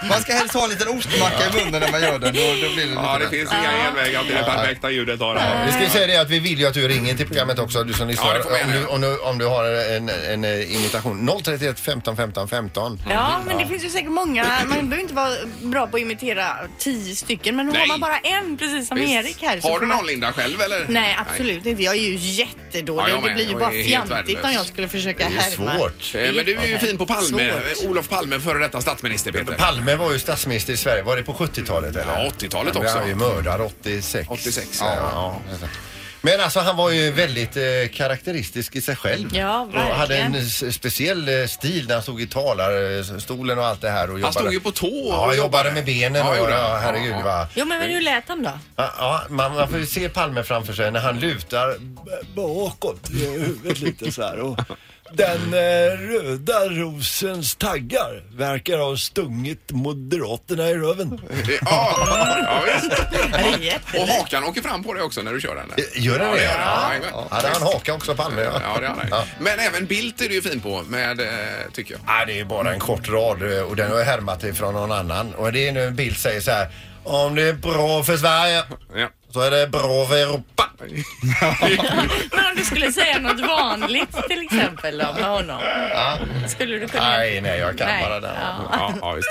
[SPEAKER 5] Man ska helst ha en liten ostmacka i munnen när man gör den. Då, då blir det lite
[SPEAKER 1] Ja, det
[SPEAKER 5] bättre.
[SPEAKER 1] finns inga genvägar till det perfekta ljudet har det här.
[SPEAKER 3] Vi ska ju säga det att vi vill ju att du ringer till programmet också, du som lyssnar.
[SPEAKER 1] Ja, det får vi
[SPEAKER 3] om,
[SPEAKER 1] gärna
[SPEAKER 3] du,
[SPEAKER 1] göra.
[SPEAKER 3] om, du, om du har en, en eh, imitation. 031 15 15 15.
[SPEAKER 2] Ja, men det finns ju säkert många. Man behöver inte vara bra på att imitera tio stycken, men
[SPEAKER 1] Nej.
[SPEAKER 2] har man bara en, precis som
[SPEAKER 1] Visst.
[SPEAKER 2] Erik här. så
[SPEAKER 1] Har
[SPEAKER 2] får
[SPEAKER 1] du
[SPEAKER 2] man-
[SPEAKER 1] någon Linda själv eller?
[SPEAKER 2] Nej, absolut inte. Jag är ju jättedålig.
[SPEAKER 1] Ja, jag
[SPEAKER 2] och det
[SPEAKER 1] med.
[SPEAKER 2] blir ju
[SPEAKER 1] Jag
[SPEAKER 2] bara
[SPEAKER 1] är helt
[SPEAKER 2] fjantigt om
[SPEAKER 1] värdelös.
[SPEAKER 2] jag skulle försöka
[SPEAKER 3] Det är ju
[SPEAKER 2] härma.
[SPEAKER 3] svårt.
[SPEAKER 1] Eh, Men du är ju fin på Palme.
[SPEAKER 2] Svårt.
[SPEAKER 1] Olof Palme, före detta statsminister Peter.
[SPEAKER 3] Palme var ju statsminister i Sverige. Var det på 70-talet eller?
[SPEAKER 1] Ja, 80-talet
[SPEAKER 3] Han
[SPEAKER 1] också.
[SPEAKER 3] blev ju mördad 86.
[SPEAKER 1] 86,
[SPEAKER 3] ja.
[SPEAKER 1] ja.
[SPEAKER 3] ja. Men alltså han var ju väldigt eh, karaktäristisk i sig själv.
[SPEAKER 2] Ja,
[SPEAKER 3] och hade en
[SPEAKER 2] verkligen.
[SPEAKER 3] s- speciell eh, stil när han stod i talarstolen och allt det här. Och
[SPEAKER 1] Han stod ju på tå och
[SPEAKER 3] Ja,
[SPEAKER 1] jobbade.
[SPEAKER 3] jobbade med benen
[SPEAKER 1] Ja,
[SPEAKER 3] och
[SPEAKER 1] gjorde han.
[SPEAKER 3] ja, herregud
[SPEAKER 1] Ja, ja.
[SPEAKER 3] va.
[SPEAKER 2] Jo, men men hur lät han då?
[SPEAKER 3] Ja, ja, man, man får ju se Palme framför sig när han lutar b- bakåt i huvudet lite så här. Och den eh, röda rosens taggar verkar ha stungit Moderaterna i röven.
[SPEAKER 1] Ja, ja visst.
[SPEAKER 2] Är det jätte-
[SPEAKER 1] Och hakan åker fram på dig också när du kör den.
[SPEAKER 3] Gör den
[SPEAKER 1] Ja,
[SPEAKER 3] det?
[SPEAKER 1] det gör den. Ja, jajamän.
[SPEAKER 3] Ja, Hade han haka också Palme?
[SPEAKER 1] Ja, det har han ju.
[SPEAKER 3] Ja.
[SPEAKER 1] Men även Bildt är du ju fin på med, eh, tycker jag.
[SPEAKER 3] Ja, det är bara en kort rad eh, och den har jag härmat ifrån någon annan. Och det är nu en bild säger så här. Om det är bra för Sverige
[SPEAKER 1] Ja.
[SPEAKER 3] så är det bra för Europa.
[SPEAKER 2] Men om du skulle säga något vanligt till exempel då, med honom. Skulle du kunna...
[SPEAKER 3] Nej, nej, jag kan
[SPEAKER 2] Nej.
[SPEAKER 3] bara den.
[SPEAKER 2] Ja.
[SPEAKER 1] Ja, ja, visst.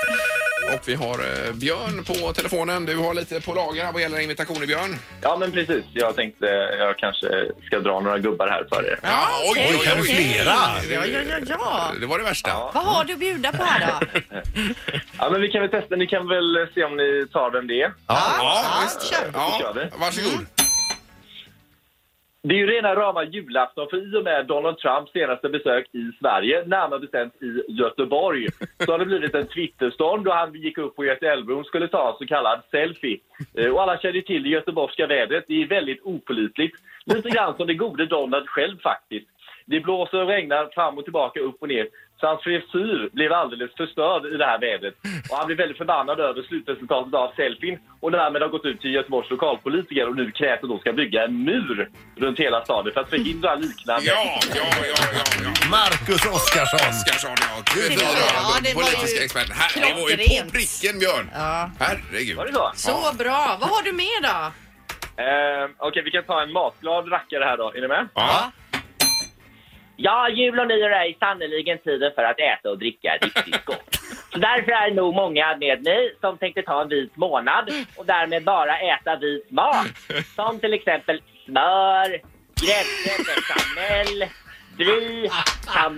[SPEAKER 1] Och vi har eh, Björn på telefonen. Du har lite på lager här vad gäller imitationer, Björn.
[SPEAKER 7] Ja, men precis. Jag tänkte jag kanske ska dra några gubbar här för er.
[SPEAKER 1] Ja, oj,
[SPEAKER 2] okej,
[SPEAKER 1] oj, oj,
[SPEAKER 2] okej.
[SPEAKER 1] flera.
[SPEAKER 2] Ja, ja, ja, ja.
[SPEAKER 1] Det var det värsta.
[SPEAKER 2] Vad har du att bjuda på här då?
[SPEAKER 7] Ja, men vi kan väl testa. Ni kan väl se om ni tar vem det är.
[SPEAKER 1] Ja, visst.
[SPEAKER 7] Kör
[SPEAKER 1] Ja,
[SPEAKER 7] vi.
[SPEAKER 1] varsågod.
[SPEAKER 7] Det är ju rena rama julafton för i och med Donald Trumps senaste besök i Sverige, närmare bestämt i Göteborg, så har det blivit en twitterstorm då han gick upp på Göteälvbron och skulle ta en så kallad selfie. Eh, Och alla känner ju till det göteborgska vädret, det är väldigt opolitligt. Lite grann som det gode Donald själv faktiskt. Det blåser och regnar fram och tillbaka, upp och ner. Så hans frisyr blev alldeles förstörd i det här vädret. Och han blev väldigt förbannad över slutresultatet av selfien och därmed har gått ut till Göteborgs lokalpolitiker och nu krävs att de ska bygga en mur runt hela staden för att förhindra liknande.
[SPEAKER 1] Ja, ja, ja, ja, ja.
[SPEAKER 3] Marcus Oskarsson.
[SPEAKER 1] Oskarsson, ja.
[SPEAKER 8] Det
[SPEAKER 1] Fyra
[SPEAKER 8] var- ja, det var ju
[SPEAKER 1] politiska experter. Här, det var ju på
[SPEAKER 8] klockrent.
[SPEAKER 1] pricken, Björn.
[SPEAKER 2] Ja.
[SPEAKER 1] Herregud.
[SPEAKER 7] Var det så?
[SPEAKER 2] Så bra. Vad har du med då?
[SPEAKER 7] Eh, Okej, vi kan ta en matglad rackare här då. Är ni med?
[SPEAKER 1] Ja.
[SPEAKER 7] Ja, jul och nyår är sannerligen tiden för att äta och dricka riktigt gott.
[SPEAKER 9] Så därför är det nog många med mig som tänkte ta en vit månad och därmed bara äta vit mat. Som till exempel smör, grädde, bechamel, brie,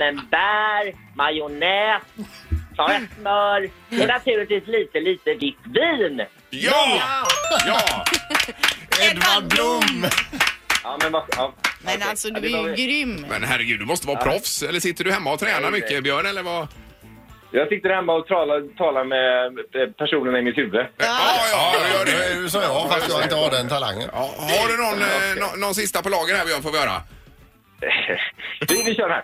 [SPEAKER 9] camembert, majonnäs, sa jag smör och naturligtvis lite, lite vitt vin.
[SPEAKER 1] Ja! Ja!
[SPEAKER 3] Edvard Blom!
[SPEAKER 9] Ja, men vad... Ja.
[SPEAKER 2] Men
[SPEAKER 9] Okej.
[SPEAKER 2] alltså
[SPEAKER 9] Ja,
[SPEAKER 2] du
[SPEAKER 9] det var
[SPEAKER 2] är ju
[SPEAKER 9] väl-
[SPEAKER 2] grym.
[SPEAKER 1] Men herregud, du måste vara proffs. Eller sitter du hemma och tränar
[SPEAKER 9] Nej, nej.
[SPEAKER 1] mycket, Björn? Eller vad?
[SPEAKER 9] Jag sitter hemma och talar, talar med eh, personerna i mitt huvud.
[SPEAKER 1] Ja, ja, du gör
[SPEAKER 3] Det
[SPEAKER 1] det.
[SPEAKER 3] är ju som jag, fast jag inte har den talangen.
[SPEAKER 1] Ja, har du någon, eh, nå- någon sista på lager här, Björn, får vi höra?
[SPEAKER 9] Vi, vi kör här.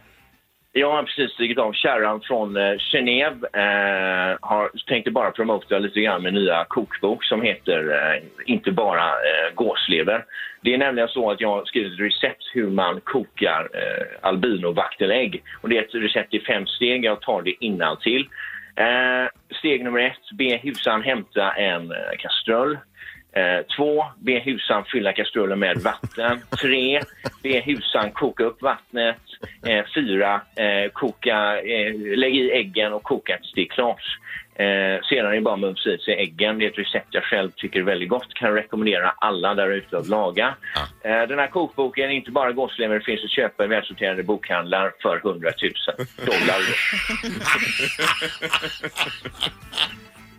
[SPEAKER 9] Jag har precis stigit av kärran från eh, Genève. Eh, har, tänkte bara promota lite grann med nya kokbok som heter eh, Inte bara eh, gåslever. Det är nämligen så att jag har skrivit ett recept hur man kokar eh, albinovaktelägg. Och det är ett recept i fem steg. Jag tar det innantill. Eh, steg nummer ett, be husan hämta en eh, kastrull. Eh, två, be husan fylla kastrullen med vatten. Tre, be husan koka upp vattnet. Eh, fyra, eh, koka, eh, lägg i äggen och koka tills det är klart. Eh, sedan är det bara att mumsa i sig äggen. Det är ett recept jag själv tycker är väldigt gott. Kan rekommendera alla där ute att laga. Eh, den här kokboken, inte bara gåslever, finns att köpa i välsorterade bokhandlar för 100 000 dollar.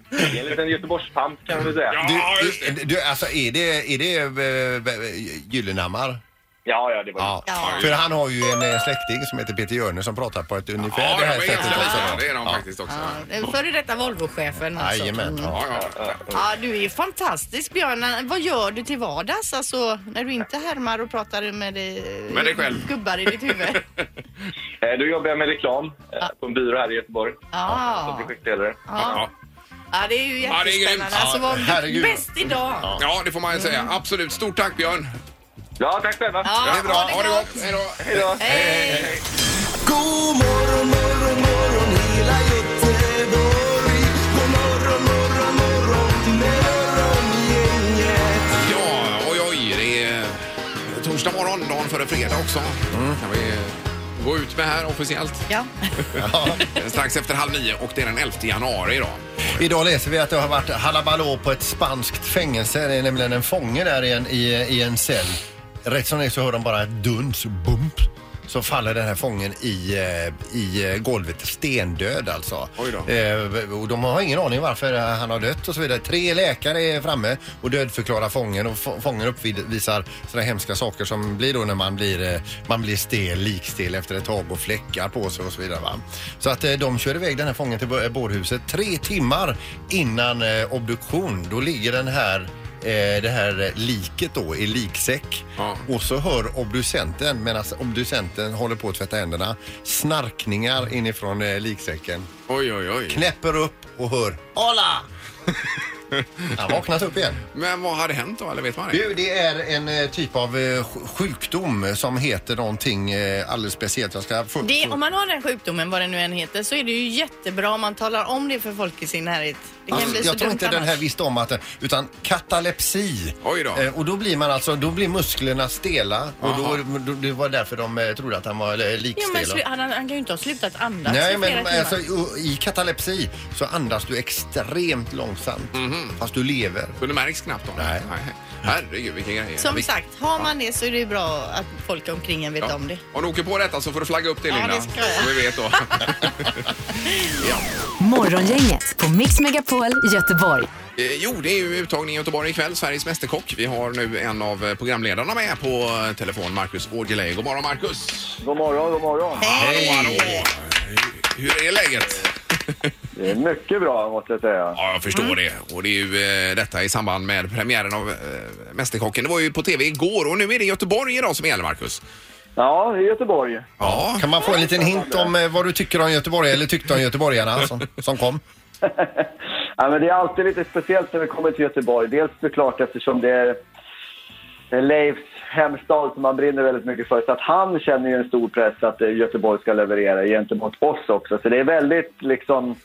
[SPEAKER 9] Det är en liten Göteborgspamp kan man säga.
[SPEAKER 3] Du,
[SPEAKER 1] Ja, just det.
[SPEAKER 3] du, du, alltså är det, är det eh, Gyllenhammar?
[SPEAKER 9] Ja, ja, det var
[SPEAKER 3] Ja. För han har ju en eh, släkting som heter Peter Jörne som pratar på ett ungefär
[SPEAKER 1] Ja,
[SPEAKER 3] det
[SPEAKER 1] de
[SPEAKER 3] här
[SPEAKER 1] är
[SPEAKER 3] sättet
[SPEAKER 1] ganska
[SPEAKER 3] också.
[SPEAKER 1] lika. Det är de
[SPEAKER 3] Ja.
[SPEAKER 1] faktiskt också.
[SPEAKER 2] Ja, den före detta Volvo-chefen alltså.
[SPEAKER 3] Jajamän.
[SPEAKER 2] Mm.
[SPEAKER 3] Ja.
[SPEAKER 1] Ja, ja.
[SPEAKER 7] Ja, du är ju fantastisk Björn. Vad gör du till vardags? Alltså, när du inte härmar och pratar med, eh,
[SPEAKER 1] Med dig själv.
[SPEAKER 7] gubbar i ditt huvud.
[SPEAKER 9] Eh, Då jobbar jag med reklam eh, på en byrå här i Göteborg
[SPEAKER 2] Ah.
[SPEAKER 9] som
[SPEAKER 7] Ja,
[SPEAKER 9] projektledare.
[SPEAKER 1] Ja.
[SPEAKER 7] ja det är ju
[SPEAKER 1] Ja, det är grymt.
[SPEAKER 7] jättespännande. Alltså,
[SPEAKER 3] Ja,
[SPEAKER 7] var
[SPEAKER 3] herregud.
[SPEAKER 2] Bäst idag!
[SPEAKER 1] ja, det får man ju säga. Absolut. Stort tack, Björn.
[SPEAKER 9] Ja, tack själva.
[SPEAKER 7] Ja,
[SPEAKER 1] Det är bra. Ha det gott. Hej då.
[SPEAKER 9] Hej då.
[SPEAKER 10] God morgon, morgon, morgon hela Göteborg. God morgon, morgon, morgon, morgongänget.
[SPEAKER 1] Ja, oj, oj. Det är eh, torsdag morgon, dagen före fredag också. kan vi gå ut med här officiellt.
[SPEAKER 7] Ja.
[SPEAKER 1] Strax efter halv nio och det är den 11 januari idag.
[SPEAKER 3] Idag läser vi att det har varit halabalå på ett spanskt fängelse. Det är nämligen en fånge där i en, i, i en cell. Rätt som det är så hör de bara ett duns, bump. Så faller den här fången i, eh, i eh, golvet, stendöd alltså.
[SPEAKER 1] Oj då.
[SPEAKER 3] Eh, och de har ingen aning varför eh, han har dött och så vidare. Tre läkare är framme och dödförklarar fången och få- fången uppvisar sådana hemska saker som blir då när man blir, eh, man blir stel, likstel efter ett tag och fläckar på sig och så vidare. Va? Så att eh, de kör iväg den här fången till bo- eh, bårhuset tre timmar innan eh, obduktion. Då ligger den här eh, det här eh, liket då i liksäck
[SPEAKER 1] Ja.
[SPEAKER 3] och så hör obducenten medan obducenten håller på att tvätta händerna snarkningar inifrån eh, liksäcken
[SPEAKER 1] Oj, oj, oj.
[SPEAKER 3] knäpper upp och hör Hola! Han vaknat upp igen.
[SPEAKER 1] Men vad hade hänt då? Eller vet man det?
[SPEAKER 3] Du, det är en eh, typ av eh, sj- sjukdom som heter någonting eh, alldeles speciellt. Jag ska få upp
[SPEAKER 2] Det,
[SPEAKER 3] så-
[SPEAKER 2] om man har den sjukdomen, vad den nu än heter, så är det ju jättebra om man talar om det för folk i sin närhet. Det kan
[SPEAKER 3] Alltså,
[SPEAKER 2] bli så
[SPEAKER 3] jag tror
[SPEAKER 2] dumt
[SPEAKER 3] inte den här
[SPEAKER 2] annars.
[SPEAKER 3] visste om att den, utan katalepsi.
[SPEAKER 1] Oj då.
[SPEAKER 3] Eh, och då blir man alltså, då blir musklerna stela och då, då, det var därför de eh, trodde att han var eh,
[SPEAKER 2] Jo, men
[SPEAKER 3] likstela.
[SPEAKER 2] slu- han, han han kan ju inte ha slutat andas
[SPEAKER 3] Nej,
[SPEAKER 2] i flera
[SPEAKER 3] men
[SPEAKER 2] timmar.
[SPEAKER 3] alltså, i- i katalepsi så andas du extremt långsamt fast du lever.
[SPEAKER 1] Så det märks knappt då?
[SPEAKER 3] Nej.
[SPEAKER 1] Herregud, vilken grej.
[SPEAKER 7] Som sagt, har man det så är det ju bra att folk omkring en vet
[SPEAKER 1] Ja.
[SPEAKER 7] om det.
[SPEAKER 1] Om du åker på detta så får du flagga upp det, Linda.
[SPEAKER 7] det ska jag.
[SPEAKER 1] Så vi vet då.
[SPEAKER 4] Morgongänget på Mix Megapol Göteborg.
[SPEAKER 1] Eh, Jo, det är ju uttagning i Göteborg ikväll, Sveriges Mästerkock. Vi har nu en av eh, programledarna med på eh, telefon, Marcus Aujalay. God morgon, Marcus!
[SPEAKER 9] God morgon, god morgon.
[SPEAKER 1] Hej! Hallå, hallå. Hur är läget?
[SPEAKER 9] Det är mycket bra måste jag säga.
[SPEAKER 1] Ja, jag
[SPEAKER 7] Mm.
[SPEAKER 1] förstår det. Och det är ju eh, detta i samband med premiären av eh, Mästerkocken. Det var ju på tv igår och nu är det Göteborg idag som gäller, Marcus.
[SPEAKER 9] Ja, i Göteborg.
[SPEAKER 1] Ja,
[SPEAKER 3] Kan man få en liten hint om eh, vad du tycker om Göteborg eller tyckte om göteborgarna som, som kom?
[SPEAKER 9] ja, men det är alltid lite speciellt när vi kommer till Göteborg. Dels såklart eftersom det är det är Leifs hemstad som han brinner väldigt mycket för. Så att han känner ju en stor press att eh, Göteborg ska leverera gentemot oss också. Så det är väldigt liksom...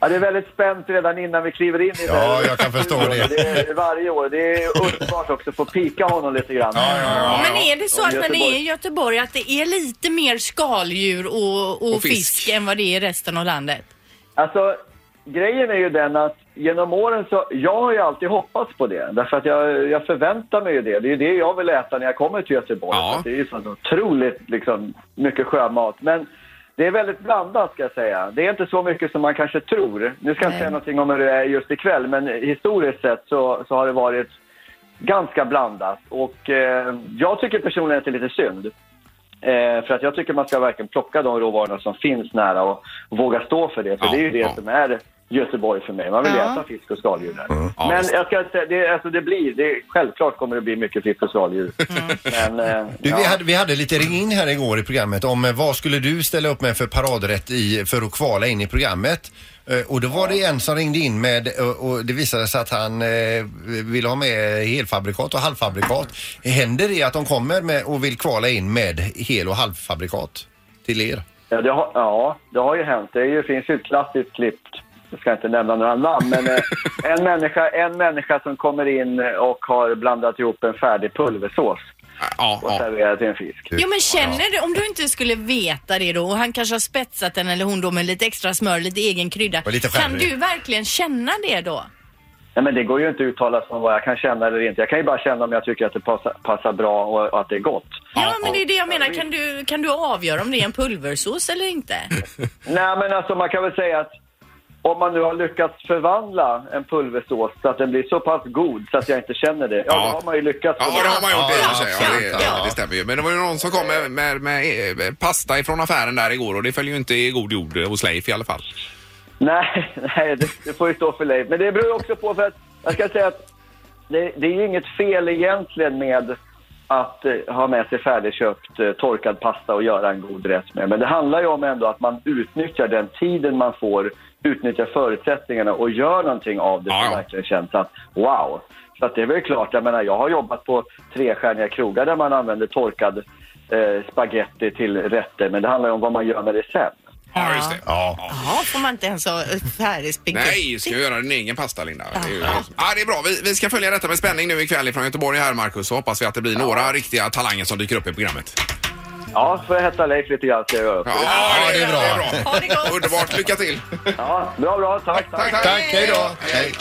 [SPEAKER 9] Ja, det är väldigt spänt redan innan vi kliver in i det.
[SPEAKER 3] Ja, jag kan förstå det.
[SPEAKER 9] är varje år. Det är underbart också att få pika honom lite grann.
[SPEAKER 2] Ja, men är det så
[SPEAKER 9] Om
[SPEAKER 2] att när ni är
[SPEAKER 9] Göteborg.
[SPEAKER 2] i Göteborg att det är lite mer skaldjur och, och,
[SPEAKER 1] Och
[SPEAKER 2] fisk.
[SPEAKER 1] fisk.
[SPEAKER 2] än vad det är i resten av landet?
[SPEAKER 9] Alltså,
[SPEAKER 11] grejen är ju den att genom åren så, jag har ju alltid hoppats på det. Därför att jag, jag förväntar mig ju det. Det är ju det jag vill äta när jag kommer till Göteborg.
[SPEAKER 1] Ja.
[SPEAKER 11] För att Det är ju så otroligt liksom, mycket sjömat. Men det är väldigt blandat ska jag säga. Det är inte så mycket som man kanske tror. Nu ska jag inte säga någonting om hur det är just ikväll, men historiskt sett så, så har det varit ganska blandat. Och eh, jag tycker personligen att det är lite synd. Eh, för att jag tycker man ska verkligen plocka de råvarorna som finns nära och våga stå för det. För
[SPEAKER 1] Ja,
[SPEAKER 11] det är ju det
[SPEAKER 1] ja.
[SPEAKER 11] som är Göteborg för mig. Man vill
[SPEAKER 2] Ja.
[SPEAKER 11] äta fisk och skaldjur där.
[SPEAKER 1] Mm. Ja,
[SPEAKER 11] Men
[SPEAKER 1] visst.
[SPEAKER 11] jag ska säga, det, alltså det blir, det, självklart kommer det bli mycket fisk och skaldjur. Men, eh,
[SPEAKER 3] Du, vi,
[SPEAKER 11] ja.
[SPEAKER 3] hade, vi hade lite ring in här igår i programmet om eh, vad skulle du ställa upp med för paradrätt i, för att kvala in i programmet. Eh, Och då var det en som ringde in med och, och det visade sig att han eh, vill ha med helfabrikat och halvfabrikat. Händer det att de kommer med och vill kvala in med hel och halvfabrikat till er?
[SPEAKER 11] Ja, det har, ja, det har ju hänt. Det är ju, finns ju ett klassiskt klipp. Jag ska inte nämna några namn, men eh, en, människa, en människa som kommer in och har blandat ihop en färdig pulversås
[SPEAKER 1] Ja,
[SPEAKER 11] och
[SPEAKER 1] ja.
[SPEAKER 11] serverat till en fisk.
[SPEAKER 7] Jo men känner du, om du inte skulle veta det då och han kanske har spetsat den eller hon då med lite extra smör, lite egen krydda.
[SPEAKER 3] Och lite
[SPEAKER 7] kan
[SPEAKER 3] sherry.
[SPEAKER 7] du verkligen känna det då?
[SPEAKER 11] Nej, men det går ju inte att uttala sig om vad jag kan känna eller inte. Jag kan ju bara känna om jag tycker att det passar, passar bra och, och att det är gott.
[SPEAKER 7] Ja, men det är det jag menar. Kan du, kan du avgöra om det är en pulversås eller inte?
[SPEAKER 11] Nej, men alltså man kan väl säga att om man nu har lyckats förvandla en pulversås så att den blir så pass god så att jag inte känner det, ja,
[SPEAKER 1] Ja.
[SPEAKER 11] då har man ju lyckats.
[SPEAKER 1] Ja, det har man gjort i och för sig. Ja, det,
[SPEAKER 7] Ja.
[SPEAKER 1] ja, det stämmer ju. Men det var ju någon som kom med, med, med eh, pasta ifrån affären där igår och det följer ju inte i god jord hos Leif i alla fall.
[SPEAKER 11] Nej, nej det, det får ju stå för Leif. Men det beror ju också på för att jag ska säga att det, det är ju inget fel egentligen med att eh, ha med sig färdigköpt eh, torkad pasta och göra en god rätt med. Men det handlar ju om ändå att man utnyttjar den tiden man får, utnyttjar förutsättningarna och gör någonting av det
[SPEAKER 1] Ja,
[SPEAKER 11] som
[SPEAKER 1] ja.
[SPEAKER 11] verkligen känns att wow. Så att det är väl klart, jag menar jag har jobbat på trestjärniga krogar där man använder torkad eh, spaghetti till rätter, men det handlar ju om vad man gör med det sen.
[SPEAKER 1] Ja, just det.
[SPEAKER 3] Ja.
[SPEAKER 2] Ja, får man inte ens ha färdig spagetti?
[SPEAKER 1] Nej, ska jag göra din egen pasta Linda? Det är, ju... ja, det är bra. Vi, vi ska följa detta med spänning nu ikväll från Göteborg här Marcus så hoppas vi att det blir några riktiga talanger som dyker upp i programmet.
[SPEAKER 11] Ja, får jag hetta Leif lite grann så jag gör upp.
[SPEAKER 3] Ja, det är bra.
[SPEAKER 7] Ha det gott.
[SPEAKER 1] Underbart, lycka till!
[SPEAKER 11] Ja, bra, bra. Tack, tack.
[SPEAKER 1] Tack,
[SPEAKER 3] Tack, hej då!
[SPEAKER 1] Hej.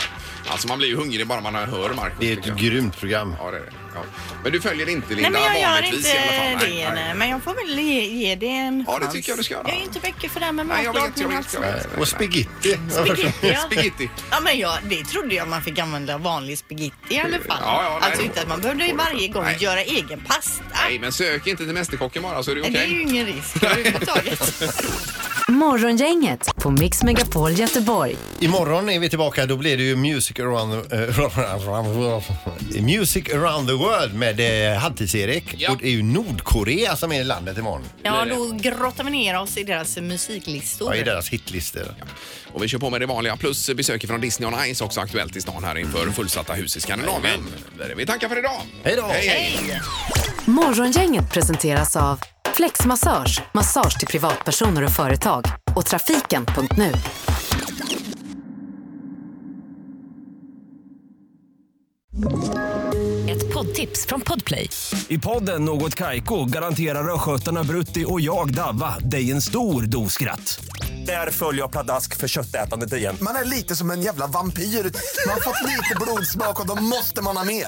[SPEAKER 1] Alltså man blir ju hungrig bara man hör Marcus.
[SPEAKER 3] Det är ett
[SPEAKER 1] tycker jag.
[SPEAKER 3] grymt program.
[SPEAKER 1] Ja, det är det. Ja. Men du följer inte
[SPEAKER 2] Nej,
[SPEAKER 1] Linda
[SPEAKER 2] men jag gör
[SPEAKER 1] vanligtvis
[SPEAKER 2] inte
[SPEAKER 1] i alla fall? Nej,
[SPEAKER 2] det.
[SPEAKER 1] nej.
[SPEAKER 2] Nej. Men jag får väl ge, ge det en
[SPEAKER 1] Ja, det
[SPEAKER 2] chans.
[SPEAKER 1] tycker jag du ska göra.
[SPEAKER 2] Jag är ju inte mycket för det här med
[SPEAKER 1] Nej, jag vet, jag
[SPEAKER 2] matlagning
[SPEAKER 1] vet.
[SPEAKER 2] alltså.
[SPEAKER 1] Jag vet.
[SPEAKER 3] Och spagetti.
[SPEAKER 2] Spagetti, ja.
[SPEAKER 1] Spagetti.
[SPEAKER 2] Ja, men jag, det trodde jag man fick använda vanlig spagetti i alla fall.
[SPEAKER 1] Ja, ja, nej,
[SPEAKER 2] alltså
[SPEAKER 1] det-
[SPEAKER 2] inte att man behövde ju varje gång
[SPEAKER 1] Nej.
[SPEAKER 2] göra egen pasta.
[SPEAKER 1] Nej, men sök inte till Mästerkocken bara så är det okej.
[SPEAKER 2] Det är ju ingen risk överhuvudtaget.
[SPEAKER 4] Morgongänget på Mix Megapol Göteborg.
[SPEAKER 3] Imorgon är vi tillbaka. Då blir det ju Music around the, eh, around the world. Music around the world med eh, Halvtids-Erik.
[SPEAKER 1] Ja.
[SPEAKER 3] Och det är ju Nordkorea som är i landet imorgon.
[SPEAKER 2] Ja, då grottar vi ner oss i deras musiklistor.
[SPEAKER 3] Ja, I deras hitlistor.
[SPEAKER 1] Och vi kör på med det vanliga plus besök från Disney on Ice också aktuellt i stan här inför fullsatta hus i Skandinavien. Vi tackar för idag!
[SPEAKER 3] Hej då!
[SPEAKER 1] Hej, hej.
[SPEAKER 4] Morgongänget presenteras av Flexmassage, massage till privatpersoner och företag och trafiken.nu. Ett poddtips från Podplay.
[SPEAKER 12] I podden Något Kaiko garanterar östgötarna Brutti och jag, Davva, dig en stor dos skratt. Där följer jag pladask för köttätandet igen.
[SPEAKER 10] Man är lite som en jävla vampyr. Man har fått lite blodsmak och då måste man ha mer.